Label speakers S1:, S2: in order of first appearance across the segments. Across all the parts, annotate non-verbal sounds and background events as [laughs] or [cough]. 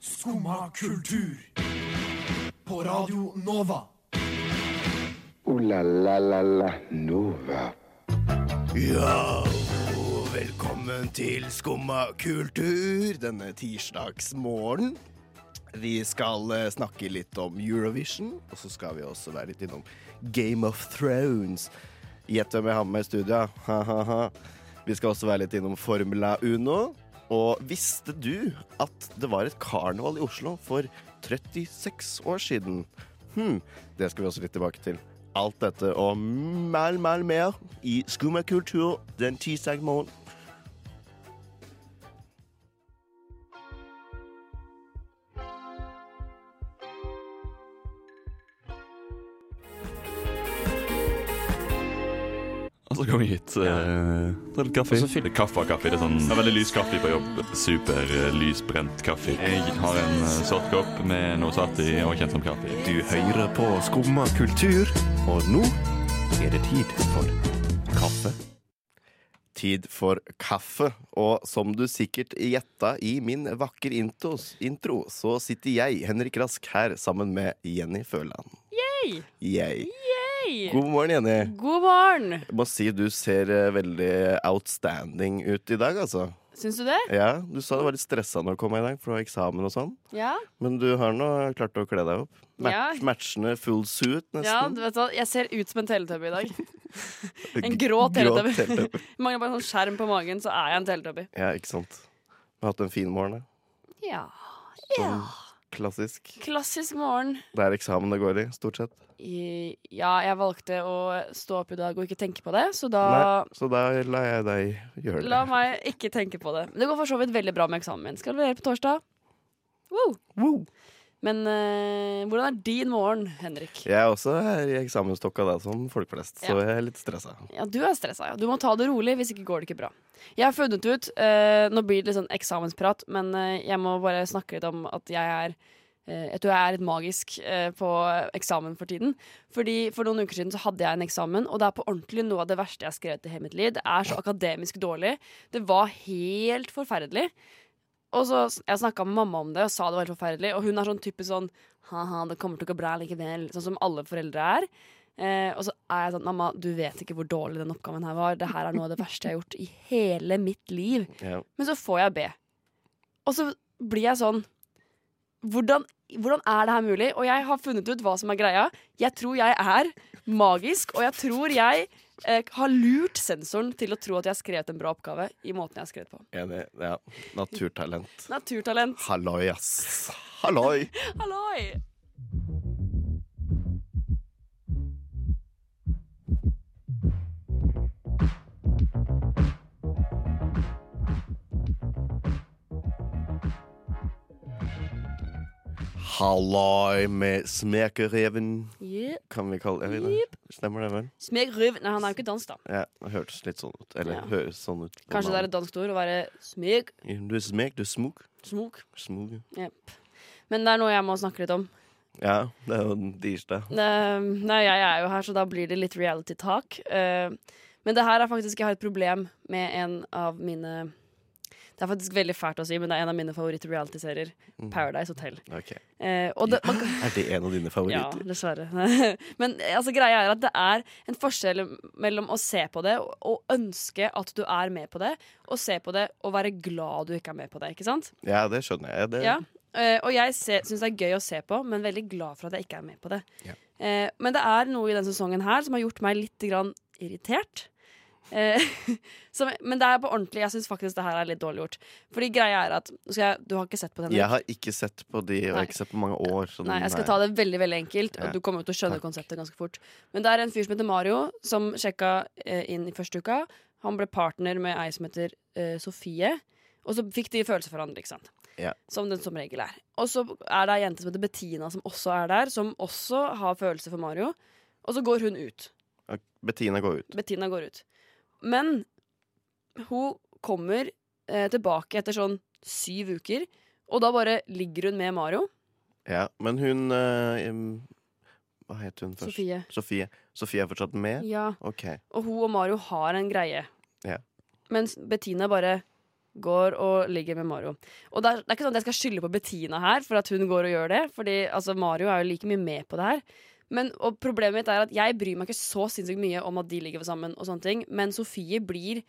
S1: Skumma kultur. På Radio Nova.
S2: Ooh la la la la Nova.
S3: Ja, og velkommen til Skumma kultur denne tirsdagsmorgen. Vi skal eh, snakke litt om Eurovision, og så skal vi også være litt innom Game of Thrones. Gjett hvem jeg har med i studio. Ha-ha-ha. Vi skal også være litt innom Formula Uno. Og visste du at det var et karneval i Oslo for 36 år siden? Hm, det skal vi også litt tilbake til. Alt dette og mæl, mæl mer i Skumma kultur den tirsdag morgen.
S4: Og så kom vi hit. Uh, ta litt kaffe. Kaffe og kaffe. Det er sånn det er veldig lys kaffe på jobb. Super eh, lysbrent kaffe. Jeg har en eh, svart kopp med noe svart i og kjent som kaffe.
S3: Du hører på Skumma kultur, og nå er det tid for kaffe. Tid for kaffe, og som du sikkert gjetta i min vakker intos, intro, så sitter jeg, Henrik Rask, her sammen med Jenny Føland.
S5: Hei!
S3: Yay.
S5: Hei!
S3: God morgen, Jenny.
S5: God morgen!
S3: Jeg må si du ser eh, veldig outstanding ut i dag, altså.
S5: Syns du det?
S3: Ja, Du sa du var litt stressa når du kom i dag, for du har eksamen og sånn.
S5: Ja.
S3: Men du har nå klart å kle deg opp.
S5: Ja.
S3: Match, Matchende full suit, nesten.
S5: ja du vet hva, jeg ser ut som en teletubby i dag. En grå teletubby. [laughs] Mangler bare en sånn skjerm på magen, så er jeg en teletubby.
S3: Ja, ikke sant. Vi har hatt en fin morgen. da.
S5: Ja.
S3: Sånn Klassisk.
S5: Klassisk morgen.
S3: Det er eksamen det går i, stort sett.
S5: I- Ja, jeg valgte å stå opp i dag og ikke tenke på det, så da
S3: Nei, så da lar jeg deg gjøre det.
S5: La meg ikke tenke på det. Men det går for så vidt veldig bra med eksamen min. Skal levere på torsdag. Wow. Men eh, hvordan er din morgen, Henrik?
S3: Jeg er også her i eksamensstokka da, som folk flest, så
S5: Ja.
S3: jeg er litt stressa.
S5: Ja, du er stressa, ja. Du må ta det rolig, hvis ikke går det ikke bra. Jeg har funnet ut eh, Nå blir det litt sånn eksamensprat, men eh, jeg må bare snakke litt om at jeg er eh, Jeg tror jeg er litt magisk eh, på eksamen for tiden. Fordi For noen uker siden så hadde jeg en eksamen, og det er på ordentlig noe av det verste jeg har skrevet i hele mitt liv. Det er så akademisk dårlig. Det var helt forferdelig. Og så s- Jeg snakka med mamma om det og sa det var helt forferdelig, og hun er sånn typisk sånn Ha-ha, det kommer til å gå bra likevel. Sånn som alle foreldre er. Eh, og så er jeg sånn, mamma, du vet ikke hvor dårlig den oppgaven her var. Det her er noe av det verste jeg har gjort i hele mitt liv.
S3: Ja.
S5: Men så får jeg B. Og så blir jeg sånn hvordan, hvordan er det her mulig? Og jeg har funnet ut hva som er greia. Jeg tror jeg er magisk, og jeg tror jeg eh, har lurt sensoren til å tro at jeg har skrevet en bra oppgave i måten jeg har skrevet på.
S3: Enig. Ja. Naturtalent.
S5: Naturtalent.
S3: Halloi, ass. Halloi.
S5: Halloi!
S3: Halloi med smekereven,
S5: Yeah.
S3: kan vi kalle jeg vet ikke. Stemmer det vel?
S5: Smeg røv... Nei, han er jo ikke dansk, da.
S3: Ja, det hørtes litt sånn ut. Eller
S5: Ja.
S3: høres sånn ut. på
S5: Kanskje det er
S3: navnet.
S5: et dansk ord å være smeg,
S3: Du er smek, du er smok.
S5: smok.
S3: Smog.
S5: Jepp. Men det er noe jeg må snakke litt om.
S3: Ja, det er jo den tirsdag.
S5: Eh, nei, jeg er jo her, så da blir det litt reality talk. Eh, men det her er faktisk Jeg har et problem med en av mine Det er faktisk veldig fælt å si, men det er en av mine favoritt-realityserier. Paradise Hotel.
S3: Ok.
S5: Eh, og det, man, kan-
S3: Er det en av dine
S5: ja,
S3: favoritter?
S5: dessverre. [laughs] Men altså, greia er at det er en forskjell mellom å se på det og, og ønske at du er med på det, og se på det og være glad du ikke er med på det. Ikke sant?
S3: Ja, det skjønner jeg. Det,
S5: Ja. eh, og jeg syns det er gøy å se på, men veldig glad for at jeg ikke er med på det.
S3: Ja.
S5: Eh, men det er noe i denne sesongen her som har gjort meg litt grann irritert. Eh, [laughs] som, men det er på ordentlig. Jeg syns faktisk det her er litt dårlig gjort. Fordi greia er at nå skal jeg, Du har ikke sett på den?
S3: Jeg har ikke sett på de, og jeg
S5: Nei.
S3: har ikke sett på mange år. Så
S5: Nei, jeg skal ta det veldig veldig enkelt.
S3: Ja.
S5: Og du kommer jo til å skjønne
S3: Takk.
S5: konseptet ganske fort. Men det er en fyr som heter Mario, som sjekka eh, inn i første uka. Han ble partner med ei som heter eh, Sofie. Og så fikk de følelser for hverandre, ikke sant.
S3: Ja.
S5: Som den som regel er. Og så er det ei jente som heter Bettina, som også er der, som også har følelser for Mario. Og så går hun ut.
S3: Ok, Bettina går ut.
S5: Bettina går ut. Men hun kommer eh, tilbake etter sånn syv uker, og da bare ligger hun med Mario.
S3: Ja, men hun eh, em, Hva het hun først?
S5: Sofie.
S3: Sofie. Sofie er fortsatt med?
S5: Ja.
S3: Ok.
S5: Og hun og Mario har en greie.
S3: Ja.
S5: Mens Bettina bare går og ligger med Mario. Og det er, det er ikke sånn at jeg skal skylde på Bettina her for at hun går og gjør det, Fordi altså, Mario er jo like mye med på det her. Men, og problemet mitt er at jeg bryr meg ikke så sinnssykt mye om at de ligger sammen, og sånne ting men Sofie blir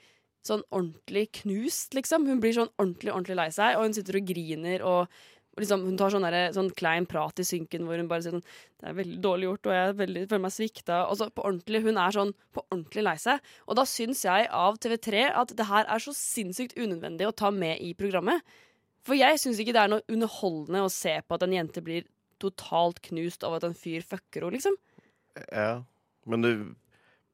S5: sånn ordentlig knust, liksom. Hun blir sånn ordentlig ordentlig lei seg, og hun sitter og griner. og liksom, Hun tar sånn, derre- sånn klein prat i synken hvor hun bare sier sånn Det er veldig dårlig gjort, og jeg er veldig, føler meg svikta. Og så på ordentlig, Hun er sånn på ordentlig lei seg. Og da syns jeg av TV3 at det her er så sinnssykt unødvendig å ta med i programmet. For jeg syns ikke det er noe underholdende å se på at en jente blir totalt knust av at en fyr fucker henne, liksom.
S3: Ja. Men, du,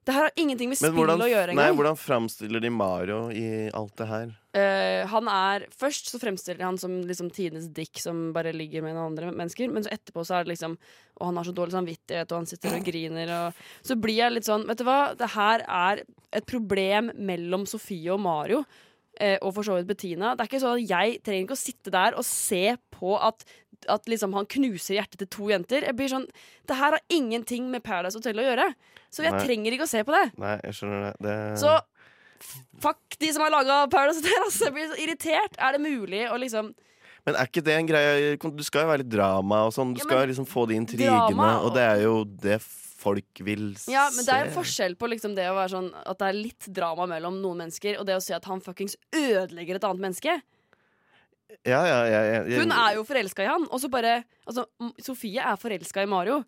S5: Det her har ingenting med
S3: men
S5: spill
S3: hvordan,
S5: å gjøre
S3: nei,
S5: engang.
S3: hvordan framstiller de Mario i alt det her?
S5: Eh, han er, Først så fremstiller han som liksom, tidenes dick som bare ligger med noen andre mennesker. Men så etterpå så er det liksom Og han har så dårlig samvittighet, og han sitter og griner. Og, så blir jeg litt sånn Vet du hva, det her er et problem mellom Sofie og Mario. eh, Og for så vidt Bettina. Det er ikke sånn at Jeg trenger ikke å sitte der og se på at, at liksom han knuser hjertet til to jenter. Jeg blir sånn Det her har ingenting med Paradise Hotel å gjøre. Så jeg
S3: Nei.
S5: trenger ikke å se på det.
S3: Nei, jeg skjønner det. det
S5: Så f- fuck de som har laga Paradise Hotel! Altså, jeg blir så irritert. Er det mulig å liksom
S3: Men er ikke det en greie Du skal jo være litt drama og sånn. Du
S5: Ja,
S3: skal
S5: men-
S3: liksom få de intrigene,
S5: Drama og-
S3: og det er jo det folk vil se.
S5: Ja, men det er jo forskjell på liksom det å være sånn at det er litt drama mellom noen mennesker, og det å si at han fuckings ødelegger et annet menneske.
S3: Ja, ja, ja, ja, ja.
S5: Hun er jo forelska i han, og så bare Altså, M- Sofie er forelska i Mario,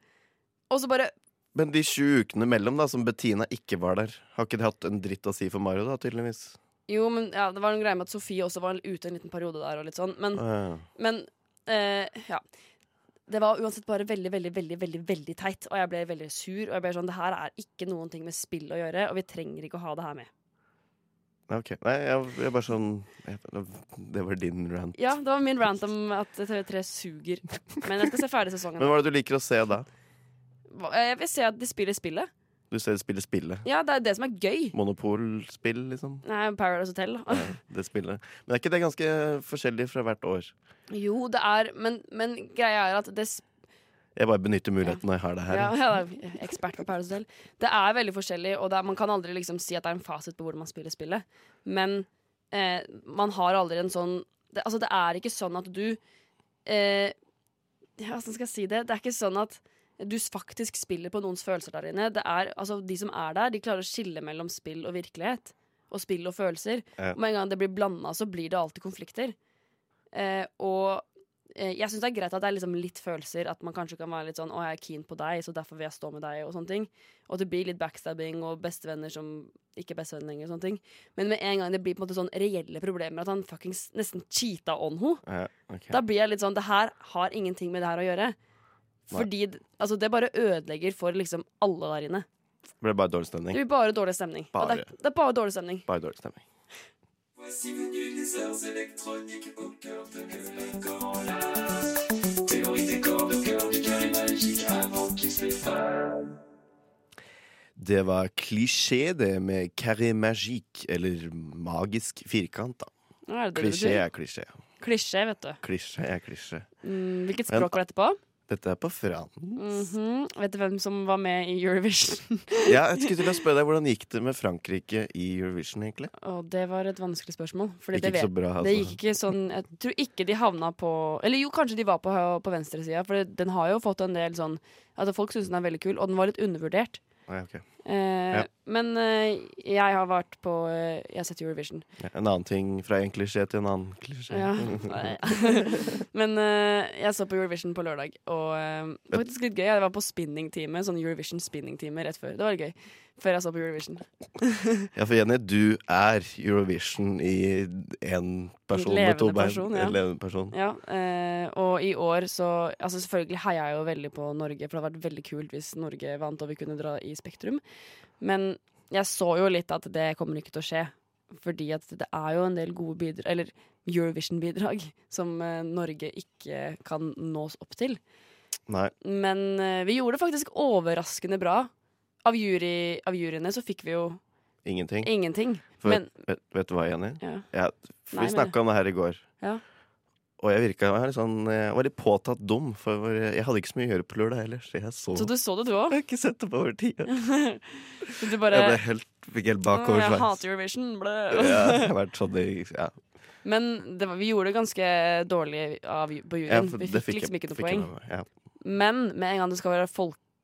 S5: og så bare
S3: Men de sju ukene mellom da som Bettina ikke var der, har ikke det hatt en dritt å si for Mario, da, tydeligvis?
S5: jo, men ja, Det var en greie med at Sofie også var ute en liten periode der. og litt sånn Men,
S3: Ah,
S5: men eh, ja Det var uansett bare veldig veldig, veldig, veldig veldig teit, og jeg ble veldig sur. Og jeg ble sånn, Det her er ikke noen ting med spill å gjøre, og vi trenger ikke å ha det her med.
S3: ja, ok. Nei, jeg, jeg bare sånn jeg, Det var din rant.
S5: Ja, det var min rant om at TV3 suger. Men jeg skal se ferdig sesongen.
S3: Men hva er det du liker å se da?
S5: Hva- Jeg vil se at de spiller spillet.
S3: Du ser de spiller spillet.
S5: Ja, det er det som er gøy.
S3: Monopolspill, liksom.
S5: Nei, Paradise Hotel. da.
S3: Ja, Det spillet. Men er ikke det ganske forskjellig fra hvert år?
S5: [laughs] Jo, det er Men, men greia er at det sp-
S3: Jeg bare benytter muligheten når jeg har det her.
S5: ja, ja, det er ekspert på Paradise Hotel. Det er veldig forskjellig, og det er, man kan aldri liksom si at det er en fasit på hvordan man spiller spillet. Men eh, man har aldri en sånn det, Altså, det er ikke sånn at du eh, Ja, hvordan skal jeg si det? Det er ikke sånn at du faktisk spiller på noens følelser der inne. Det er, altså, de som er der, de klarer å skille mellom spill og virkelighet. Og spill og følelser.
S3: Ja.
S5: Og med en gang det blir blanda, så blir det alltid konflikter. Eh, og eh, jeg syns det er greit at det er liksom litt følelser. At man kanskje kan være litt sånn 'Å, jeg er keen på deg, så derfor vil jeg stå med deg', og sånne ting. Og at det blir litt backstabbing og bestevenner som ikke er bestevenner lenger. og sånne ting. Men med en gang det blir på en måte sånn reelle problemer, at han fuckings nesten cheata on henne,
S3: Ja, ok.
S5: da blir jeg litt sånn Det her har ingenting med det her å gjøre. Fordi d- altså, det bare ødelegger for liksom alle der inne.
S3: Det ble bare dårlig
S5: Det
S3: stemning.
S5: blir bare dårlig stemning. Og Det,
S3: Bare.
S5: er, det er bare dårlig stemning.
S3: Bare dårlig stemning. Det var klisjé, det med carré magique, eller magisk firkant, da.
S5: Ja, er det det det
S3: Klisjé
S5: betyr?
S3: er klisjé.
S5: Klisjé, vet du.
S3: Klisjé er klisjé.
S5: Mm, hvilket
S3: Men-
S5: språk var dette på?
S3: Dette er på Fran.
S5: Mhm. Vet du hvem som var med i Eurovision?
S3: Ja, jeg skulle til å spørre deg, Hvordan gikk det med Frankrike i Eurovision, egentlig?
S5: Og det var et vanskelig spørsmål. Fordi
S3: Gikk
S5: det,
S3: ikke
S5: vet,
S3: så bra, altså.
S5: det gikk ikke sånn Jeg tror ikke de havna på Eller jo, kanskje de var på, på venstresida, for det- den har jo fått en del sånn At folk syns den er veldig kul, og den var litt undervurdert.
S3: Nei, ok.
S5: Eh,
S3: Ja.
S5: Men eh, jeg har vært på eh, Jeg har sett Eurovision.
S3: Ja, En annen ting fra en klisjé til en annen klisjé.
S5: Ja. [laughs] Nei. Men eh, jeg så på Eurovision på lørdag, og eh, det var faktisk litt gøy. Jeg var på spinningtime, sånn Eurovision spinningtime rett før. Det var gøy. Før jeg så på Eurovision.
S3: Ja, for Jenny, du er Eurovision i én person med
S5: Levende
S3: to bein.
S5: person, ja.
S3: En levende person.
S5: Ja, eh, og i år så Altså Selvfølgelig heia jeg jo veldig på Norge, for det hadde vært veldig kult hvis Norge vant og vi kunne dra i Spektrum. Men jeg så jo litt at det kommer ikke til å skje. Fordi at det er jo en del gode bidrag, eller Eurovision-bidrag, som eh, Norge ikke kan nås opp til.
S3: Nei.
S5: Men eh, vi gjorde det faktisk overraskende bra. Av, jury, av juryene så fikk vi jo
S3: Ingenting.
S5: ingenting.
S3: For
S5: men-
S3: vet, vet, vet du hva, Jenny?
S5: Ja.
S3: Jeg- vi
S5: Nei, men-
S3: snakka om det her i går.
S5: Ja.
S3: Og jeg virka jeg var litt sånn, jeg var litt påtatt dum, for jeg hadde ikke så mye å gjøre på lørdag ellers. Jeg så,
S5: Så du så det, du òg?
S3: Jeg har [laughs] ikke sett det på over tid. Jeg
S5: Du bare
S3: ble helt, fikk helt
S5: «Åh, Jeg
S3: bakoversveis. [laughs]
S5: hater Eurovision. Ble.
S3: Ja, jeg har vært sånn i ja,
S5: Men det var, vi gjorde det ganske dårlig av, på
S3: Ja,
S5: juryen.
S3: for
S5: vi
S3: det
S5: fikk liksom
S3: jeg-
S5: ikke noe
S3: fikk jeg
S5: poeng.
S3: med meg, ja.
S5: Men med en gang det skal være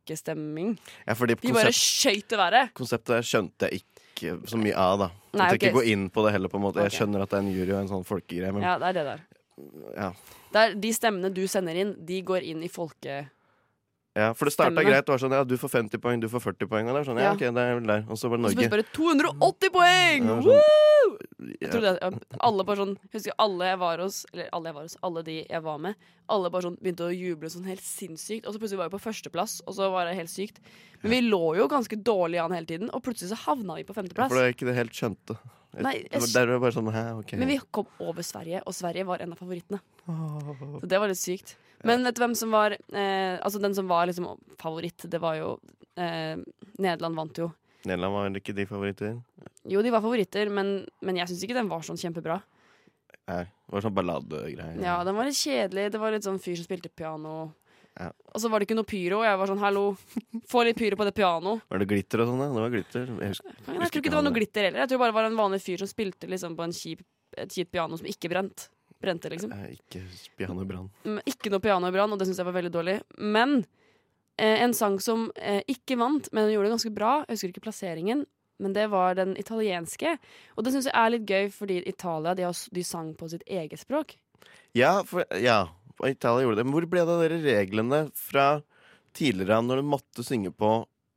S5: folkestemming
S3: Ja, fordi
S5: De bare
S3: konsept,
S5: skøyt til været!
S3: konseptet skjønte jeg ikke så mye av, da. Jeg
S5: Nei,
S3: tenkte
S5: ok.
S3: ikke gå inn på det heller, på en måte. Jeg
S5: Ok.
S3: skjønner at det er en jury og en sånn folkegreie, men
S5: Ja, det er det der.
S3: ja.
S5: Det er de stemmene du sender inn, de går inn i folke...
S3: Ja, for det starta
S5: Stemmene.
S3: greit. Det var sånn, ja, du får 50 poeng, du får 40 poeng. Og det var sånn, ja,
S5: Ja.
S3: ok, det er vel der. Og så var det
S5: Og så
S3: Norge.
S5: plutselig bare 280 poeng!
S3: Ja, sånn.
S5: Woo!
S3: Ja.
S5: Jeg trodde at alle bare sånn jeg Husker alle jeg var hos, eller alle jeg var hos, alle de jeg var med, alle bare sånn begynte å juble sånn helt sinnssykt. Og så plutselig var vi på førsteplass, og så var det helt sykt. Men vi lå jo ganske dårlig an hele tiden, og plutselig så havna vi på
S3: Ja,
S5: femteplass.
S3: for det er ikke det helt skjønte.
S5: Nei, jeg
S3: Det var- Der var det bare sånn, hæ, ok.
S5: Men vi kom over Sverige, og Sverige var en av favorittene. Så det var litt sykt. Men vet du hvem som var eh, Altså den som var liksom favoritt, det var jo eh, Nederland vant jo.
S3: Nederland var vel ikke de favoritter?
S5: Jo, de var favoritter, men, men jeg syns ikke den var sånn kjempebra.
S3: Nei, det var sånn balladegreier.
S5: Ja, den var litt kjedelig. Det var litt sånn fyr som spilte piano.
S3: Ja.
S5: Og så var det ikke noe pyro. og Jeg var sånn hallo, få litt pyro på det pianoet.
S3: Var det glitter og sånn, da? Det var glitter. Jeg husker,
S5: Jeg,
S3: husker
S5: tror ikke det var
S3: han
S5: noe glitter heller. Jeg tror bare det var en vanlig fyr som spilte liksom på en kjip, et kjipt piano som ikke brent. brente. liksom
S3: Eh, Ikke pianobrann.
S5: Mm, Ikke noe pianobrann, og det syns jeg var veldig dårlig. Men eh, en sang som eh, ikke vant, men den gjorde det ganske bra, jeg husker ikke plasseringen, men det var den italienske. Og det syns jeg er litt gøy, fordi Italia de, har, s- de sang på sitt eget språk.
S3: Ja, for, ja, og Italia gjorde det. Men hvor ble det av dere reglene fra tidligere når du måtte synge på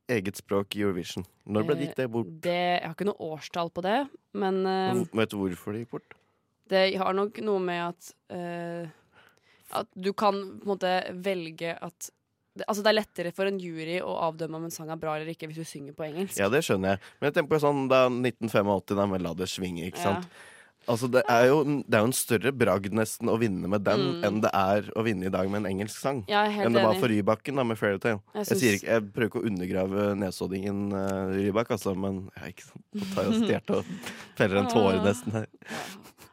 S3: eget språk i Eurovision? Når ble det
S5: Eh,
S3: gikk det bort?
S5: Det, jeg har ikke noe årstall på det, men eh,
S3: Og Vet du hvorfor det gikk bort?
S5: det har nok noe med at eh, At du kan på en måte velge at det, Altså det er lettere for en jury å avdømme om en sang er bra eller ikke, hvis du synger på engelsk.
S3: Ja, det skjønner jeg. Men jeg tenker på sånn da 1985, da med La det svinge, ikke sant. Altså, det er, jo, det er jo en større bragd nesten å vinne med den enn det er å vinne i dag med en engelsk sang.
S5: Ja, jeg er Mm. helt
S3: enn det var
S5: enig.
S3: for Rybakken da med Fairytale.
S5: Jeg
S3: Jeg,
S5: syns-
S3: sier ikke, jeg prøver ikke å undergrave nedsoddingen eh, Rybak, altså, men ja, ikke sant. Nå tar
S5: [laughs]
S3: jeg og stjert og feller en tåre nesten her.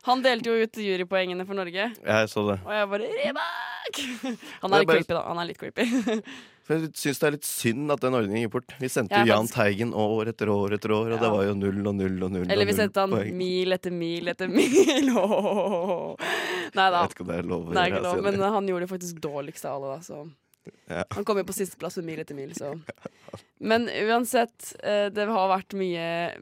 S5: Han delte jo ut jurypoengene for Norge,
S3: Jeg så det.
S5: og jeg bare Rebak! [laughs] Han
S3: Det
S5: er
S3: er
S5: litt
S3: bare-
S5: creepy, da. Han er litt creepy. [laughs]
S3: For jeg syns det er litt synd at den ordningen gikk bort. Vi sendte
S5: Jeg er
S3: jo Jahn
S5: faktisk-
S3: Teigen år etter år etter år, og
S5: Ja.
S3: det var jo null og null og null.
S5: Eller vi
S3: og null
S5: sendte han
S3: poeng.
S5: mil etter mil etter mil. [laughs] Åh. Nei
S3: Jeg
S5: da.
S3: vet ikke om det er lov. å
S5: Det er
S3: gjøre,
S5: ikke lov,
S3: altså.
S5: men han gjorde det faktisk dårligst av alle, da, så Han kom jo på sisteplass med mil etter mil,
S3: [laughs]
S5: så Men uansett, eh, det har vært mye [laughs]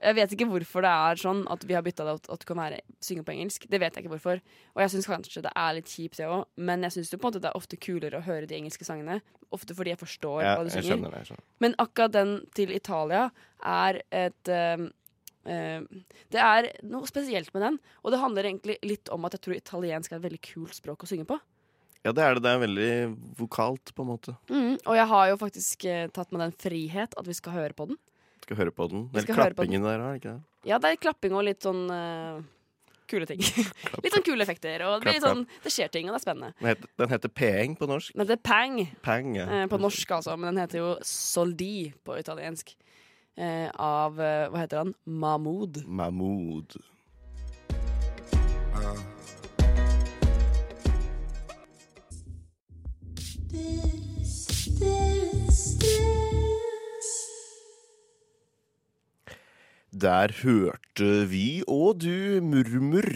S5: Jeg vet ikke hvorfor det er sånn at vi har bytta det at at du kan være, synge på engelsk. Det vet jeg ikke hvorfor. Og jeg syns kanskje det er litt kjipt, det òg, men jeg syns det er ofte kulere å høre de engelske sangene. Ofte fordi jeg forstår
S3: ja,
S5: hva de
S3: jeg
S5: synger.
S3: skjønner det. Jeg skjønner.
S5: Men akkurat den til Italia er et ehm, ehm, Det er noe spesielt med den, og det handler egentlig litt om at jeg tror italiensk er et veldig kult språk å synge på.
S3: Ja, det er det. Det er veldig vokalt, på en måte.
S5: Mm, og jeg har jo faktisk eh, tatt meg den frihet at vi skal høre på den.
S3: Skal høre på den.
S5: Vi
S3: Eller
S5: skal høre på
S3: klappingen der, er det ikke det?
S5: Ja, det er klapping og litt sånn eh, kule [laughs] ting. litt sånn kule effekter, og det, blir litt
S3: Klapp,
S5: sånn, det skjer ting, og det er spennende.
S3: Den heter, den heter peeng på norsk.
S5: Den heter Pang
S3: Peng, ja.
S5: eh, på norsk, altså, men den heter jo Soldi på italiensk. eh, av eh, Hva heter han? Mahmoud.
S3: Mahmoud. Der hørte vi og du Murmur,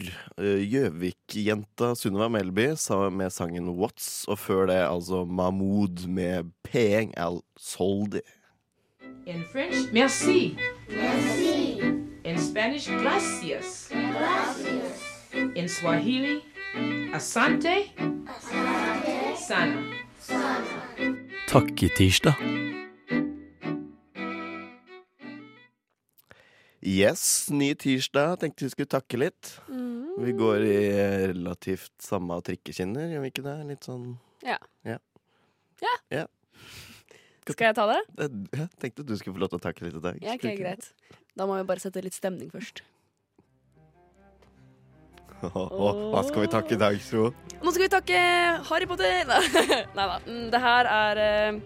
S3: eh, Gjøvik-jenta Sunniva Melby, sa- med sangen What's, og før det altså Mahmoud med Peng Al Soldi.
S6: In French, merci. Merci. In Spanish, gracias. Gracias. In Swahili, asante. Asante. Sana.
S7: Takketirsdag.
S3: Yes, ny tirsdag. Tenkte vi skulle takke litt.
S5: Mm.
S3: Vi går i relativt samme trikkeskinner, gjør vi ikke det? Litt sånn
S5: Ja.
S3: Ja.
S5: Ja.
S3: Ja.
S5: Skal jeg ta det?
S3: Jeg eh, tenkte du skulle få lov til å takke litt i dag.
S5: Ja, ok,
S3: Skulle ikke det?
S5: greit. Da må vi bare sette litt stemning først.
S3: Åh, hva skal vi takke i dag, tro?
S5: Nå skal vi takke Harry Potter! [laughs] Nei da. Mm, Det her er eh,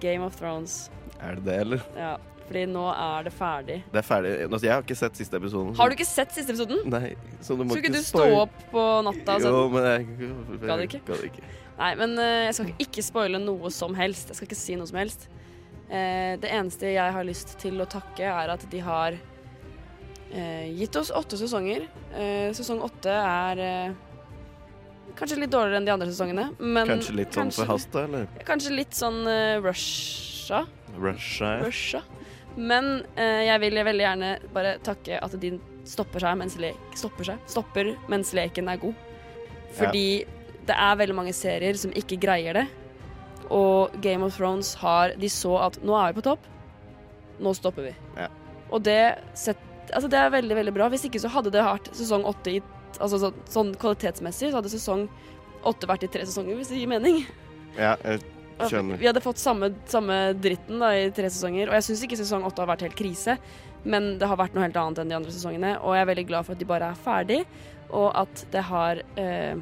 S5: Game of Thrones.
S3: Er det det, eller?
S5: Ja, fordi nå er det ferdig.
S3: Det er ferdig. Altså, jeg har ikke sett siste episoden.
S5: Har du ikke sett siste episoden?
S3: Nei, så du må
S5: Skulle ikke du stå
S3: spoil-
S5: opp på natta? og
S3: Jo,
S5: sånn?
S3: men jeg
S5: Ga du ikke?
S3: Ga det ikke.
S5: Nei, men eh, jeg skal ikke- ikke spoile noe som helst. Jeg skal ikke si noe som helst. Eh, det eneste jeg har lyst til å takke, er at de har eh, eh, gitt oss åtte sesonger. Eh, sesong åtte er eh, kanskje litt dårligere enn de andre sesongene, men
S3: Kanskje litt sånn forhasta, eller?
S5: Kanskje litt sånn eh, rusha.
S3: Rusha. ja.
S5: Rusha. Men eh, jeg vil veldig gjerne bare takke at din stopper seg mens lek stopper, seg. stopper mens leken er god. Fordi det er veldig mange serier som ikke greier det. Og Game of Thrones har De så at nå er vi på topp. Nå stopper vi.
S3: Ja.
S5: Og det, sett, altså det er veldig, veldig bra. Hvis ikke så hadde det vært sesong åtte i Altså så, sånn kvalitetsmessig så hadde sesong åtte vært i tre sesonger, hvis det gir mening.
S3: Ja, jeg skjønner.
S5: Vi hadde fått samme, samme dritten da, i tre sesonger, og jeg syns ikke sesong åtte har vært helt krise, men det har vært noe helt annet enn de andre sesongene, og jeg er veldig glad for at de bare er ferdig, og at det har eh,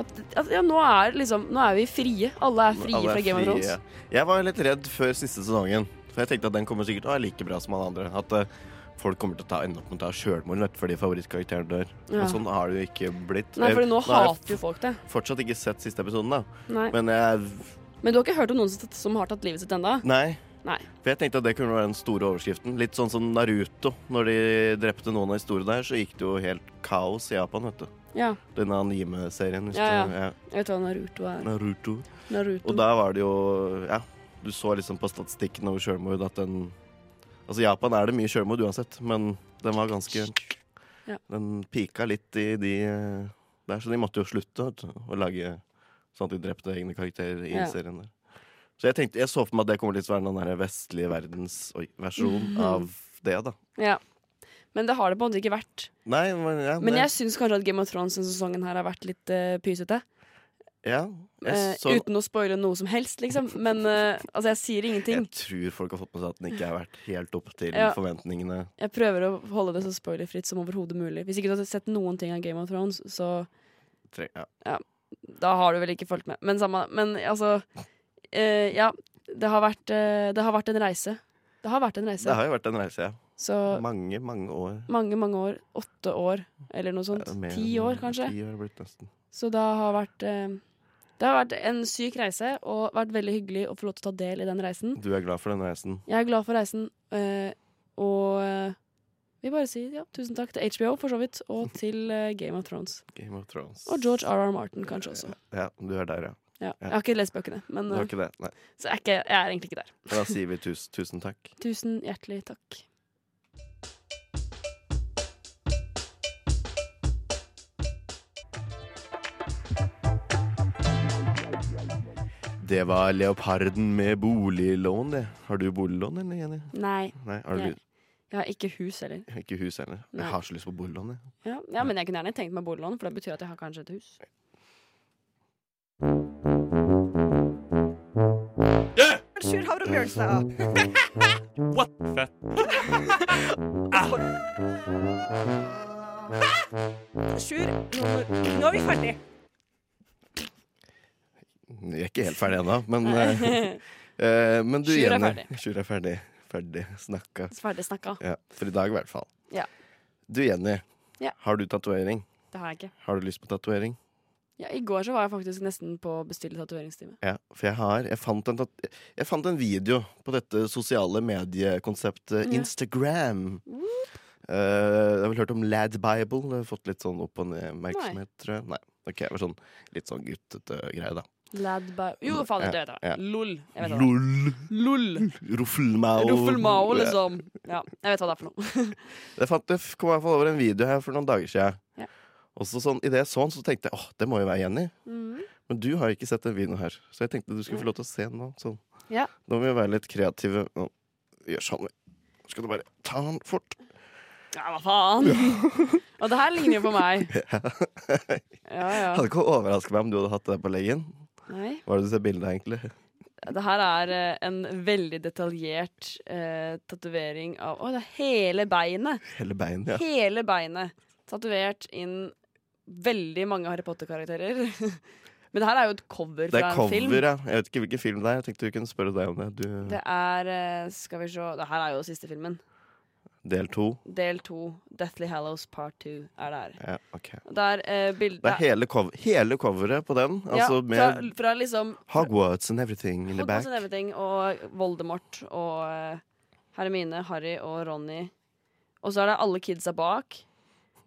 S5: at, at, ja, nå er, liksom, nå er vi frie. Alle er frie
S3: Alle er
S5: fra Game of
S3: frie.
S5: Thrones.
S3: Jeg var litt redd før siste sesongen, for jeg tenkte at den kommer sikkert å være like bra som alle andre. At eh, folk kommer til å ta, ende opp med å ta sjølmord vet, fordi favorittkarakteren dør.
S5: Ja.
S3: Men sånn har det jo ikke blitt. Eh,
S5: Nei, for nå
S3: har jeg
S5: hater jo folk det.
S3: fortsatt ikke sett siste episoden, da.
S5: Nei.
S3: Men
S5: Men,
S3: jeg
S5: du har ikke hørt om noen som, som har tatt livet sitt ennå?
S3: Nei.
S5: Nei.
S3: For jeg tenkte at det kunne være den store overskriften. Litt sånn som Naruto. Når de drepte noen av historien der, så gikk det jo helt kaos i Japan, vet du.
S5: Ja.
S3: Denne anime-serien. hvis
S5: Ja,
S3: du-
S5: Jeg vet hva Naruto er.
S3: Naruto.
S5: Naruto.
S3: Og da var det jo Ja, du så liksom på statistikken over sjølmord at den Altså, i Japan er det mye sjølmord uansett, men den var ganske
S5: Ja.
S3: Den pika litt i de eh, der, så de måtte jo slutte vet du, å lage sånn at de drepte egne karakterer i
S5: Ja.
S3: serien der. Så jeg tenkte, jeg så for meg at det kommer litt til å være den der vestlige verdens oi,
S5: Mhm.
S3: versjon av det, da.
S5: Ja. Men det har det på en måte ikke vært.
S3: Nei, men, ja,
S5: Men
S3: det-
S5: jeg syns kanskje at Game of Thrones denne sesongen her har vært litt eh, pysete.
S3: ja,
S5: Eh,
S3: jeg, så,
S5: Uten å spoile noe som helst, liksom. Men eh, altså, jeg sier ingenting.
S3: jeg tror folk har fått med seg at den ikke har vært helt opp til
S5: Ja.
S3: forventningene.
S5: Jeg prøver å holde det så spoilerfritt som overhodet mulig. Hvis ikke du har sett noen ting av Game of Thrones, så
S3: Tre- Ja.
S5: da har du vel ikke fulgt med. Men samme Men altså eh, Ja. Det har, vært, eh, det har vært en reise. Det har vært en
S3: Det
S5: reise.
S3: har jo vært en reise, ja.
S5: Så
S3: Mange, mange år.
S5: mange, mange år. Åtte år, eller noe sånt.
S3: Ja, mer
S5: Ti
S3: enn-
S5: år, kanskje.
S3: Ti år blitt nesten.
S5: Så det har vært eh, Det har vært en syk reise, og vært veldig hyggelig å få lov til å ta del i den reisen.
S3: Du er glad for den reisen.
S5: Jeg er glad for reisen, eh, og eh, vi bare sier ja, tusen takk til HBO for så vidt, og til eh, Game of Thrones.
S3: Game of Thrones.
S5: Og George R.R. Martin kanskje også.
S3: Ja, du er der, ja.
S5: Ja. Jeg har ikke lest bøkene, men
S3: Det var
S5: eh,
S3: ikke det. Nei.
S5: så jeg er, ikke, jeg er egentlig ikke der.
S3: Da sier vi tusen, tusen takk.
S5: Tusen hjertelig takk.
S3: Det var Leoparden med boliglån, det. Har du boliglån, eller, Jenny?
S5: Nei,
S3: Nei, har du
S5: jeg, jeg har ikke hus heller.
S3: ikke hus heller?
S5: Nei.
S3: Jeg har så lyst på boliglån, jeg.
S5: Ja, ja, men jeg kunne gjerne tenkt meg boliglån, for det betyr at jeg har kanskje et hus.
S7: Sjur Havre Bjørnstad.
S4: What fett?
S7: Sjur, nå, nå er vi ferdig.
S3: Vi er ikke helt ferdig ennå,
S5: [laughs]
S3: men eh, eh, Men du,
S5: Sjur er
S3: Jenny.
S5: ferdig.
S3: Sjur er ferdig. Ferdig snakka.
S5: Så Ferdig snakka.
S3: Ja, for i dag i hvert fall.
S5: Ja.
S3: Du, Jenny.
S5: Ja.
S3: Har du tatovering?
S5: Det har jeg ikke.
S3: Har du lyst på tatovering?
S5: Ja, I går så var jeg faktisk nesten på å bestille tatoveringstime.
S3: Ja, for jeg har Jeg fant en, tat- jeg fant en video på dette sosiale mediekonseptet
S5: Ja.
S3: Instagram. Eh, jeg har vel hørt om Lad Bible. Det har fått litt sånn opp- og ned-oppmerksomhet, tror jeg. Nei. Ok, det var sånn litt sånn guttete greie, da.
S5: Lad by Jo, fader, det
S3: Ja,
S5: vet
S3: ja.
S5: jeg. LOL. Jeg vet hva det er.
S3: LOL!
S5: LOL.
S3: Ruffelmau.
S5: Ruffelmao, liksom. Ja, jeg vet hva det er for noe.
S3: Jeg fant, det kom i hvert fall over en video her for noen dager siden.
S5: Ja.
S3: Og så sånn, Idet jeg så den, så tenkte jeg åh, det må jo være Jenny.
S5: Mhm.
S3: Men du har jo ikke sett den videoen her, så jeg tenkte du skulle få lov til å se den nå. Sånn.
S5: Ja.
S3: Nå må vi være litt kreative. Nå gjør sånn. Nå skal du bare ta den fort.
S5: Ja, hva faen? Og det her ligner jo på meg.
S3: [laughs]
S5: Ja, ja.
S3: Hadde ikke overraska meg om du hadde hatt det på leggen.
S5: Nei.
S3: Hva er det du ser bildet av, egentlig? [laughs]
S5: Det her er eh, en veldig detaljert eh, tatovering av Å, det er hele beinet!
S3: Hele beinet, ja.
S5: Hele beinet tatovert inn veldig mange Harry Potter-karakterer. [laughs] Men det her er jo et cover
S3: Det
S5: fra
S3: er
S5: en film.
S3: cover, ja. Jeg vet ikke hvilken film det er. Jeg tenkte vi kunne spørre deg om det. Du,
S5: Det er eh, Skal vi se Det her er jo siste filmen.
S3: del to.
S5: Del to. Deathly Hallows Part 2 er det her.
S3: Ja, ok.
S5: Og Det er eh, bilde
S3: Det er hele, cover, hele coveret på den. Altså
S5: ja, fra,
S3: med
S5: fra liksom
S3: Hogwarts and everything in the back.
S5: Hogwarts and everything, og Voldemort og eh, Hermine, Harry og Ronny Og så er det alle kidsa bak.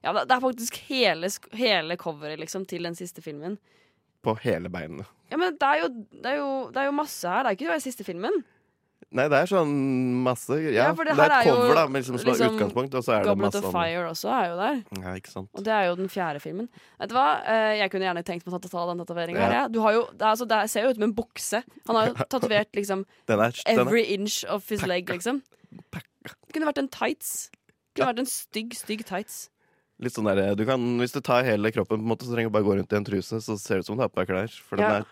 S5: Ja, det det er faktisk hele, sk- hele coveret liksom, til den siste filmen.
S3: på hele beinet.
S5: Ja, men det er jo, det er jo, det er jo masse her. Det er ikke bare siste filmen.
S3: Nei, det er sånn masse Ja,
S5: Ja, for det
S3: det, er
S5: her
S3: et
S5: er jo
S3: cover, da, men liksom, som er
S5: liksom
S3: utgangspunkt, og så er det
S5: Goblet
S3: masse
S5: of
S3: andre.
S5: Fire også er jo der.
S3: Ja, ikke sant.
S5: Og det er jo den fjerde filmen. Vet du hva? Eh, Jeg kunne gjerne tenkt meg å ta- ta den tatoveringa. her, jeg. Du har jo- Det, er altså, det ser jo ut som en bukse. Han
S3: [laughs]
S5: har jo tatovert liksom
S3: Den er, den er
S5: every inch of his leg, liksom. Det kunne vært en tights. Det kunne vært en stygg, stygg tights.
S3: litt sånn der du kan, Hvis du tar hele kroppen, på en måte, så trenger du bare gå rundt i en truse, så ser det ut som du har på deg klær. For
S5: Ja.
S3: den er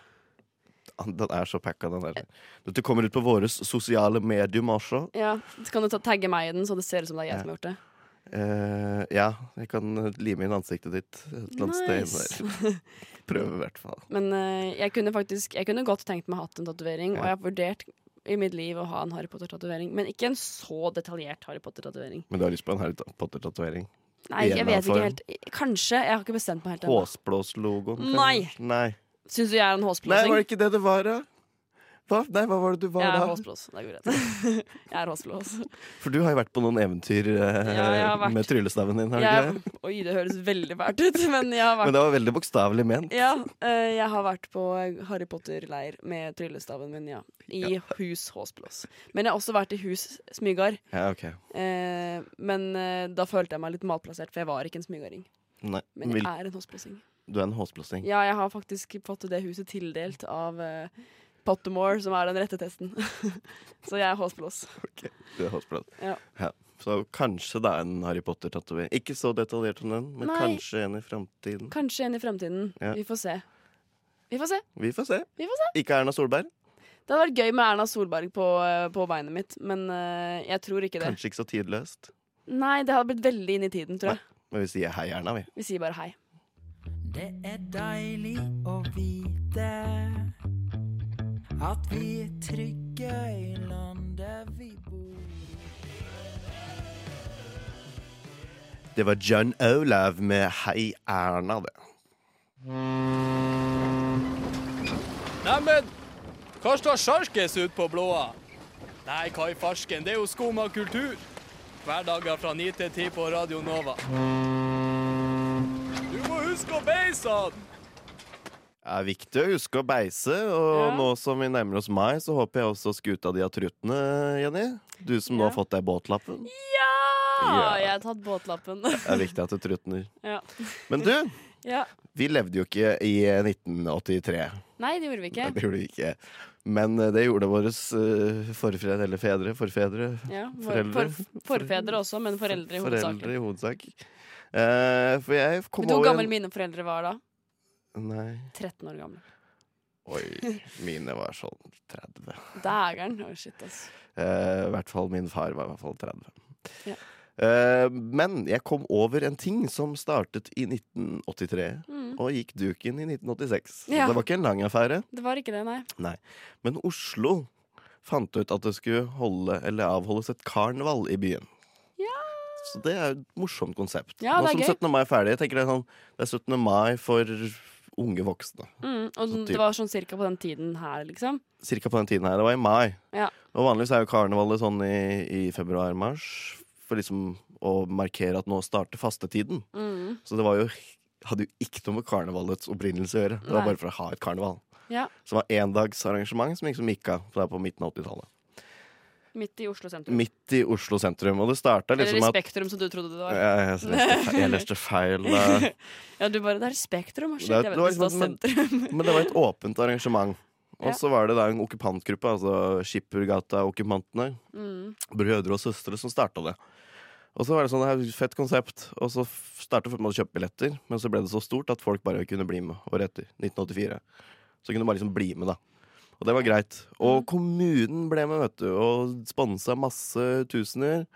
S3: den er så packa, den der. Dette kommer ut på våre sosiale medium også.
S5: Ja, Så kan du ta, tagge meg i den, så det ser ut som det er jeg som har gjort det.
S3: Eh, ja, jeg kan lime inn ansiktet ditt et eller annet sted.
S5: [laughs] Nice.
S3: inn Der. Prøve, i hvert fall.
S5: Men eh, jeg kunne faktisk Jeg kunne godt tenkt meg å hatt en tatovering, og jeg har vurdert i mitt liv å ha en Harry Potter-tatovering. Men ikke en så detaljert Harry Potter-tatovering.
S3: Men du har lyst på en Harry Potter-tatovering?
S5: Nei, jeg vet ikke
S3: Gjennomføring.
S5: helt. Kanskje. Jeg har ikke bestemt meg helt ennå.
S3: Håsblåslogoen?
S5: Nei.
S3: kanskje? Nei.
S5: Syns du jeg er en
S3: Nei,
S5: håsblåsing?
S3: var det ikke det det var, da? Hva? Nei, hva var det du var
S5: Jeg er
S3: da?
S5: håsblås. Det er god
S3: [laughs]
S5: rett. Jeg er håsblås.
S3: For du har jo vært på noen eventyr eh,
S5: Ja, jeg har vært-
S3: med tryllestaven din, har du ikke det?
S5: Jeg, oi, det høres veldig fælt ut, [laughs] men jeg har
S3: Men
S5: vært
S3: det var veldig bokstavelig ment.
S5: ja, eh, jeg har vært på Harry Potter-leir med tryllestaven min, ja. I hus Håsblås. Men jeg har også vært i hus Smygard.
S3: Ja, ok.
S5: Eh, men eh, da følte jeg meg litt malplassert, for jeg var ikke en smygaring.
S3: Nei.
S5: Men
S3: Vil,
S5: jeg er en håsblåsing.
S3: du er en håsblåsing.
S5: Ja, jeg har faktisk fått det huset tildelt av eh, Pottermore, som er den rette testen. [laughs] Så jeg er håsblås.
S3: Du er håsblås.
S5: Ja.
S3: Så kanskje det er en Harry Potter-tatovering. Ikke så detaljert som den, men
S5: Nei.
S3: kanskje en i framtiden.
S5: Kanskje en i fremtiden.
S3: Ja.
S5: Vi får se. Vi får se.
S3: Vi får se.
S5: Vi får se.
S3: Ikke Erna Solberg.
S5: Det hadde vært gøy med Erna Solberg på, eh, på beinet mitt, men eh, jeg tror ikke det.
S3: Kanskje ikke så tidløst.
S5: Nei, det hadde blitt veldig inn i tiden, tror jeg.
S3: Men vi sier hei, Erna, vi.
S5: Vi sier bare hei.
S8: Det er deilig å vite at vi er trygge i landet vi bor i.
S3: Det var John Olav med Hei, Erna, det.
S9: Neimen, hva står sjarkes ut på blåa? Nei, hva i farsken, det er jo skumma kultur. Hverdager fra 9 til 10 på Radio Nova. Du må huske å beise han!
S3: Det er viktig å huske å beise, og
S5: Ja.
S3: nå som vi nærmer oss mai, så håper jeg også skuta di har truttene, Jenny. Du som nå har fått deg båtlappen.
S5: Ja!
S3: Ja.
S5: Jeg har tatt båtlappen.
S3: Det er viktig at du trutner.
S5: ja.
S3: Men du,
S5: ja.
S3: vi levde jo ikke i 1983.
S5: Nei, det gjorde
S3: Nei,
S5: vi ikke.
S3: Det gjorde vi ikke. Men eh, det gjorde våre forfedre, eller fedre, forfedre,
S5: Ja, våre
S3: Foreldre.
S5: for, forfedre også, men foreldre i hovedsak.
S3: foreldre i hovedsak. Eh, for jeg kom
S5: Vet du hvor
S3: over
S5: gamle mine foreldre var da?
S3: en... Nei.
S5: 13 år gamle.
S3: Oi, mine var sånn 30.
S5: Dægeren. Å, shit, ass.
S3: Eh, I hvert fall min far var i hvert fall 30.
S5: Ja.
S3: Eh, men jeg kom over en ting som startet i 1983
S5: Mm.
S3: og gikk duken i 1986.
S5: Ja.
S3: Det var ikke en lang affære,
S5: Det var ikke det, nei.
S3: men Oslo fant ut at det skulle holde, eller avholdes et karneval i byen. Så det er jo et morsomt konsept.
S5: Ja,
S3: Nå
S5: det er
S3: som
S5: gøy.
S3: 17. mai er ferdig, jeg tenker det er, sånn, det er 17. mai for unge voksne.
S5: Mm. Og den-
S3: typ.
S5: det var sånn cirka på den tiden her, liksom.
S3: Cirka på den tiden her. Det var i mai.
S5: Ja.
S3: Og vanligvis er jo karnevalet sånn i, i februar-mars. For liksom å markere at nå starter fastetiden.
S5: Mm.
S3: Så det var jo, hadde jo ikke noe med karnevalets opprinnelse å gjøre. Det var
S5: Nei.
S3: bare for å ha et karneval.
S5: Ja.
S3: Som var endagsarrangement som liksom gikk av der på midten av 80-tallet.
S5: Midt i Oslo sentrum.
S3: Midt i Oslo sentrum. Og det starta
S5: Eller
S3: liksom
S5: i
S3: med at
S5: Spektrum, som du trodde det var.
S3: ja, jeg, leste feil, jeg leste feil.
S5: [laughs]
S3: da.
S5: Ja, du bare Det er Spektrum, og shit.
S3: Det er-
S5: Jeg vet
S3: det var
S5: ikke, det
S3: liksom-
S5: var sentrum.
S3: Men det var et åpent arrangement.
S5: Ja.
S3: Og så var det da en okkupantgruppe, altså Skippergata-okkupantene,
S5: Mm.
S3: brødre og søstre som starta det. Og så var det sånn, det er et fett konsept, og så f- startet folk med å kjøpe billetter, men så ble det så stort at folk bare kunne bli med året etter, 1984. Så kunne du bare liksom bli med, da. Og det var greit. Og kommunen ble med, vet du, og sponsa masse tusener.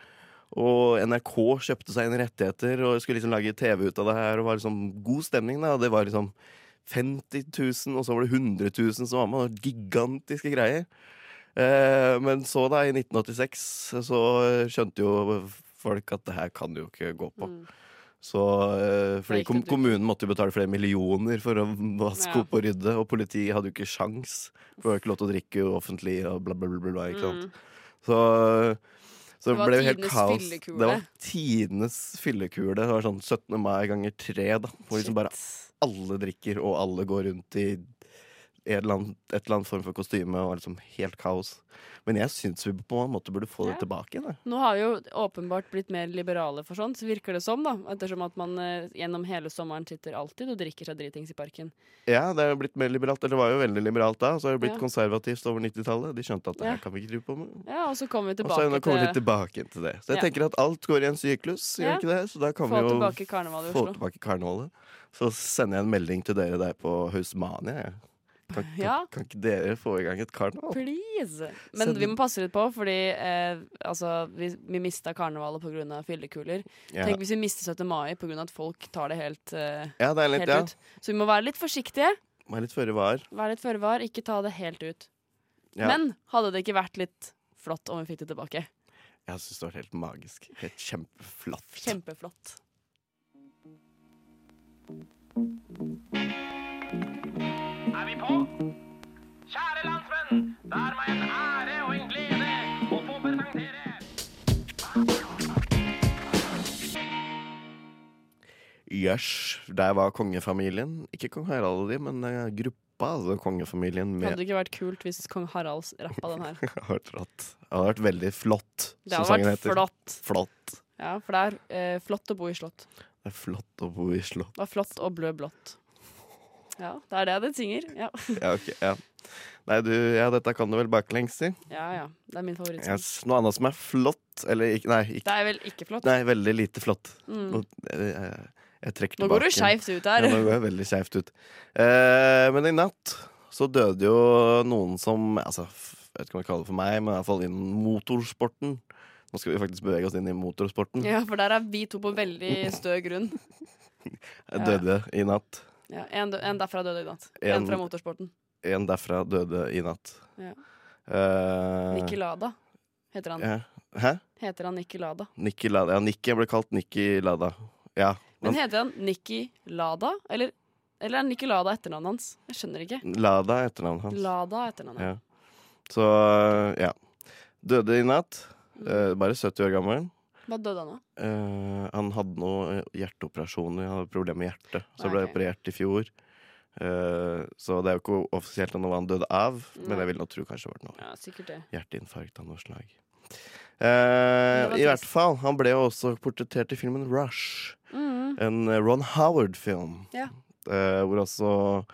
S3: Og NRK kjøpte seg inn rettigheter og skulle liksom lage TV ut av det her, og var liksom god stemning, da. Det var liksom 50 000, og så var det 100 000 som var med, og gigantiske greier. Eh, men så da, i 1986, så skjønte jo folk at det her kan jo ikke gå på. Så, eh, fordi
S5: gikk det
S3: kom,
S5: dumt.
S3: kommunen måtte jo betale flere millioner for å vaske
S5: Ja.
S3: opp og rydde, og politiet hadde jo ikke sjans. For det var ikke lov til å drikke offentlig og bla, bla, bla. bla, bla ikke sant? Så, Så
S5: Mm. Det
S3: det
S5: var
S3: ble jo helt
S5: tidenes
S3: kaos.
S5: fyllekule.
S3: Det var tidenes fyllekule. Det var sånn 17. mai ganger tre, da. Hvor liksom bare
S5: Shit.
S3: alle drikker, og alle går rundt i et eller, annet, et eller annet form for kostyme, og liksom helt kaos. Men jeg syns vi på en måte burde få
S5: Ja.
S3: det tilbake igjen. jeg.
S5: Nå har vi jo åpenbart blitt mer liberale for sånt, virker det som, da. Ettersom at man eh, gjennom hele sommeren sitter alltid og drikker seg dritings i parken.
S3: Ja, det er jo blitt mer liberalt. Eller det var jo veldig liberalt da, og så har det blitt
S5: Ja.
S3: konservativt over 90-tallet. De skjønte at det
S5: Ja.
S3: her kan vi ikke drive på med.
S5: Ja, og så kommer vi
S3: Og så
S5: tilbake
S3: er hun kommet litt tilbake til det. Så jeg
S5: Ja.
S3: tenker at alt går i en syklus, gjør
S5: Ja.
S3: ikke det? Så da kan
S5: Få
S3: vi jo
S5: tilbake karnevalet i
S3: få
S5: Oslo.
S3: tilbake karnevalet. Så sender jeg en melding til dere der på Hausmania. jeg. Kan, kan,
S5: [laughs] Ja.
S3: kan ikke dere få i gang et karneval?
S5: Please! Men
S3: Send-
S5: vi må passe litt på, fordi eh, altså, vi, vi mista karnevalet pga. fyllekuler.
S3: Ja.
S5: Tenk hvis vi mister 17. mai pga. at folk tar det helt, eh,
S3: ja, det er litt,
S5: helt
S3: ja.
S5: ut. Så vi må være litt forsiktige.
S3: Må være litt føre var.
S5: Vær litt føre var, ikke ta det helt ut.
S3: Ja.
S5: Men hadde det ikke vært litt flott om vi fikk det tilbake?
S3: Jeg syns det var helt magisk. Helt kjempeflott.
S5: Kjempeflott.
S10: Er vi på? Kjære landsmenn, det er meg en ære og en glede å få presentere
S3: Yes. Der var kongefamilien. Ikke kong Harald og de, men eh, gruppa, altså kongefamilien med
S5: Hadde det ikke vært kult hvis kong Haralds rappa
S3: [laughs]
S5: den her?
S3: Det hadde vært rått. Det hadde vært veldig flott,
S5: Det
S3: som
S5: hadde
S3: sangen
S5: vært
S3: heter.
S5: flott.
S3: Flott.
S5: Ja, for det er eh, flott å bo i slott.
S3: Det er flott å bo i slott.
S5: Det var flott å blø blått. Ja, det er det det synger. Ja.
S3: Ja, ok, ja. Nei, du, ja, dette kan du vel baklengs i.
S5: ja ja, det er min favorittsang.
S3: Yes. Noe annet som er flott, eller ikke Nei, ikke,
S5: Det er vel ikke flott?
S3: nei veldig lite flott.
S5: Mm.
S3: Nå, eh, jeg trekker
S5: Nå
S3: tilbake.
S5: går du skeivt ut
S3: Ja,
S5: her.
S3: nå går jeg veldig skeivt ut. Eh, men i natt så døde jo noen som Altså, f- jeg vet ikke om jeg kaller det for meg, men i hvert fall innen motorsporten. Nå skal vi faktisk bevege oss inn i motorsporten.
S5: [laughs] Ja, for der er vi to på veldig stø grunn.
S3: Jeg døde i natt.
S5: Ja, en, dø- en derfra døde i natt.
S3: En-
S5: En fra motorsporten.
S3: En derfra døde i natt.
S5: Ja.
S3: Eh,
S5: Nikki Lada heter han.
S3: ja. Hæ?
S5: Heter han Nikki Lada?
S3: Nikki Lada. Ja, Nikki. Jeg ble kalt Nikki Lada. Ja.
S5: Men
S3: Men
S5: heter han Nikki Lada? Eller, eller er Nikki Lada etternavnet hans? Jeg skjønner ikke.
S3: Lada er etternavnet hans.
S5: Lada er etternavnet.
S3: Ja. Så eh, ja. Døde i natt.
S5: Mm.
S3: Eh, bare 70 år gammel.
S5: Hva døde han av?
S3: Eh, han hadde noe hjerteoperasjoner. Han hadde problemer med hjertet. Så ble
S5: Ah, Ok.
S3: operert i fjor. Eh, så det er jo ikke offisielt noe han døde av, men
S5: Nei.
S3: jeg vil nå tro kanskje det var noe
S5: Ja, sikkert det.
S3: hjerteinfarkt av noe slag.
S5: var
S3: Eh, I hvert
S5: trist.
S3: fall, han ble jo også portrettert i filmen Rush. En eh, Ron Howard-film.
S5: Mm. Ja.
S3: Eh, hvor også eh,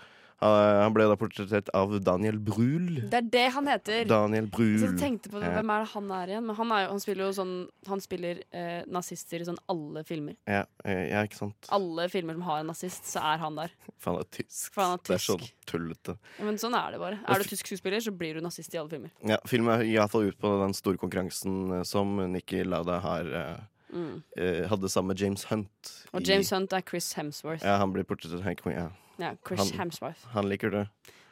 S3: Han ble da portrettert av Daniel Brühl.
S5: Det er det han heter!
S3: Daniel
S5: Så jeg
S3: Brühl.
S5: tenkte på
S3: Ja.
S5: hvem er det han er igjen. Men han, er jo, han spiller jo sånn Han spiller eh, nazister i sånn alle filmer.
S3: Ja, eh, ja, ikke sant?
S5: Alle filmer som har en nazist, så er han der.
S3: For han er tysk.
S5: For han er
S3: Det er
S5: tysk.
S3: sånn tullete.
S5: Ja, Men sånn er det bare. Er du tysk skuespiller, så blir du nazist i alle filmer.
S3: Ja, Filmen er iallfall ut på den store konkurransen eh, som Nikki Lada har eh,
S5: Mm.
S3: eh, hadde sammen med James Hunt.
S5: Og James Hunt er Chris Hemsworth.
S3: Ja, han blir portrettert. Ja,
S5: Ja, Chris
S3: Han-
S5: Hemsworth.
S3: han liker det.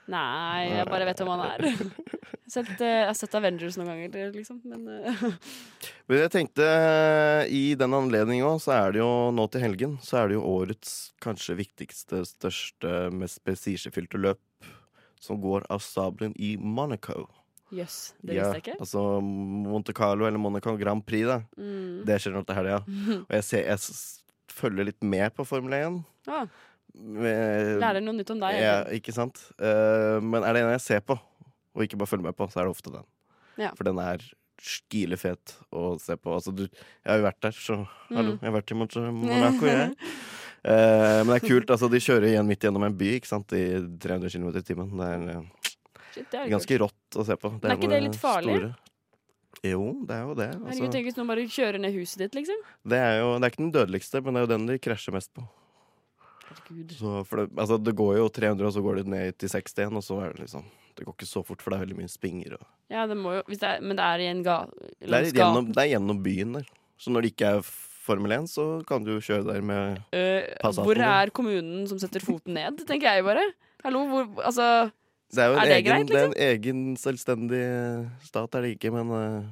S5: Nei, jeg bare vet hvem han er. [laughs] Jeg har sett, eh, jeg har sett Avengers noen ganger, liksom. Men eh, [laughs]
S3: Men jeg tenkte i den anledning òg, så er det jo nå til helgen, så er det jo årets kanskje viktigste, største, mest prestisjefylte løp som går av stabelen i Monaco.
S5: jøss, det visste jeg ikke.
S3: Altså Monte Carlo eller Monaco Grand Prix, da.
S5: Mm.
S3: Det skjer nå til helga.
S5: [laughs]
S3: Og jeg, ser, jeg s- følger litt med på Formel 1.
S5: Ah,
S3: Um, Med-
S5: lærer noe nytt om deg.
S3: ja,
S5: egentlig.
S3: ikke sant? Eh, men er det en jeg ser på, og ikke bare følger med på, så er det ofte den.
S5: Ja.
S3: For den er skile fet å se på. Altså, du, jeg har jo vært der, så
S5: Mm.
S3: hallo. Jeg har vært i Mon- Monaco,
S5: [laughs]
S3: jeg. Eh, men det er kult. altså De kjører igjen midt gjennom en by ikke sant? i 300 km i timen. Det er eh,
S5: Shit, det er litt kult.
S3: ganske rått å se på. eh,
S5: Men er ikke det litt farlig?
S3: store- Jo, det er jo det.
S5: Herregud,
S3: Altså,
S5: tenk hvis noen bare kjører ned huset ditt, liksom.
S3: det, er jo, det er ikke den dødeligste, men det er jo den de krasjer mest på.
S5: Herregud.
S3: Så for det, altså det går jo 300, og så går det ned til 60 igjen, og så er det liksom Det går ikke så fort, for det er veldig mye spinger. Og,
S5: Ja, det må jo, hvis det er, men det er i en ga...
S3: det, er
S5: langs
S3: gjennom,
S5: gaten.
S3: det er gjennom byen der. Så når det ikke er Formel 1, så kan du jo kjøre der med
S5: Eh,
S3: Passaten, liksom.
S5: hvor
S3: ja.
S5: er kommunen som setter foten ned, tenker jeg bare. Hallo, hvor Altså,
S3: Det er jo en,
S5: Er det
S3: egen,
S5: greit, liksom?
S3: det er en egen selvstendig stat, er det ikke, men eh,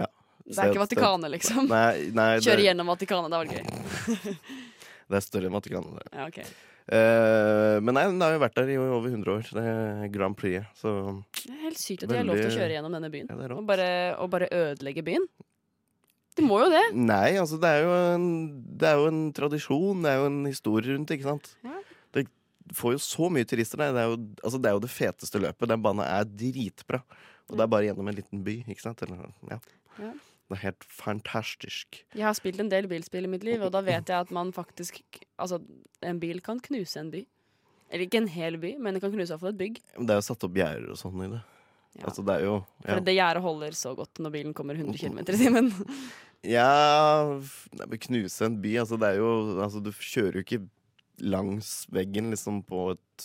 S5: det er ikke
S3: Sted-
S5: Vatikanet, liksom.
S3: Nei, nei
S5: Kjøre
S3: det,
S5: gjennom Vatikanet, det var gøy.
S3: det er større enn Vatikanet. det.
S5: Ja, ok.
S3: Eh, men nei, den har jo vært der i over 100 år, det er Grand Prix. Så
S5: Det er helt sykt at de har lov til å
S3: Veldig-
S5: kjøre gjennom denne byen.
S3: ja, det er
S5: Og
S3: rått.
S5: bare, og bare ødelegge byen. Du må jo det.
S3: Nei, altså det er, jo en, det er jo en tradisjon, det er jo en historie rundt det, ikke sant? Det får jo så mye turister der. Det er jo, altså det, er jo det feteste løpet. Den banen er dritbra. Og det er bare gjennom en liten by, ikke sant? Eller, ja.
S5: Ja.
S3: Det er helt fantastisk.
S5: Jeg har spilt en del bilspill i mitt liv, og da vet jeg at man faktisk Altså, en bil kan knuse en by. Eller ikke en hel by, men den kan knuse iallfall et bygg.
S3: Men Det er jo satt opp gjerder og sånn i det. Altså det er jo
S5: For det gjerdet holder så godt når bilen kommer 100 km i timen.
S3: Ja f- nei, men Knuse en by. Altså, det er jo, altså, du kjører jo ikke langs veggen liksom, på et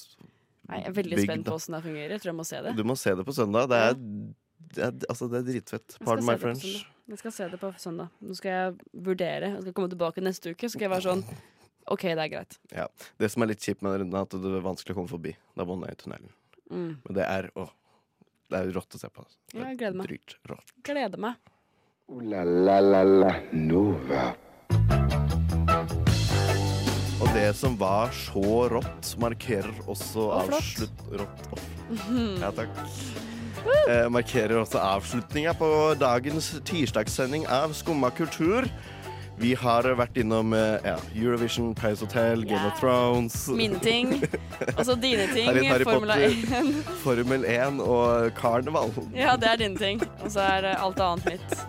S5: Nei, Jeg er veldig
S3: bygd,
S5: spent
S3: da.
S5: på åssen det fungerer. Jeg tror jeg må se det.
S3: Du må se det på søndag. Det er, det er, altså, det er dritfett.
S5: Jeg skal
S3: Pardon my
S5: se det på
S3: French.
S5: søndag. Jeg skal se det på søndag. Nå skal jeg vurdere. Jeg skal komme tilbake neste uke, så skal jeg være sånn OK, det er greit.
S3: Ja. Det som er litt kjipt med den runden, er at det er vanskelig å komme forbi. Det er vann i tunnelen.
S5: Mm.
S3: Men det er åh, Det er jo rått å se på. altså.
S5: Ja, jeg gleder meg.
S3: Drygt rått.
S5: Gleder meg.
S2: Ooh la la la la Nova.
S3: Og det som var så rått, markerer også
S5: Og flott.
S3: avslutt... Rått og
S5: [laughs]
S3: Ja, takk. Eh, markerer også avslutninga på dagens tirsdagssending av Skumma kultur. Vi har vært innom eh, ja, Eurovision, Paris Hotel, Game
S5: Ja.
S3: of Thrones
S5: Mine ting. Og så dine ting.
S3: Harry- Harry
S5: Formula
S3: Potter.
S5: 1.
S3: Formel 1 og karneval.
S5: Ja, det er dine ting. Og så er eh, alt annet mitt.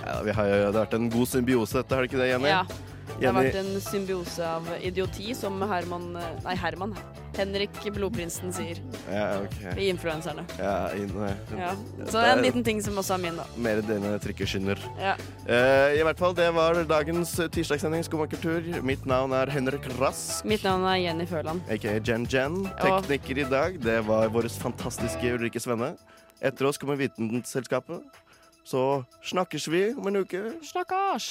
S3: Ja, vi har, det har vært en god symbiose, dette, har det ikke det, Jenny?
S5: Ja. Det har
S3: Jenny-
S5: vært en symbiose av idioti, som Herman eh, Nei, Herman. Henrik Blodprinsen sier
S3: Ja, ok.
S5: i Influenserne.
S3: Ja, inn,
S5: Ja. Så det er en liten ting som også er min, da.
S3: Mer dine trykkeskinner.
S5: Ja.
S3: Eh, I hvert fall, det var dagens eh, tirsdagssending Skumma kultur. Mitt navn er Henrik Rask.
S5: Mitt navn er Jenny Førland.
S3: Aka Jen Jen.
S5: Ja.
S3: Tekniker i dag, det var vår fantastiske Ulrikke Svenne. Etter oss kommer Vitenselskapet. Så snakkes vi om en uke.
S5: Snakkars!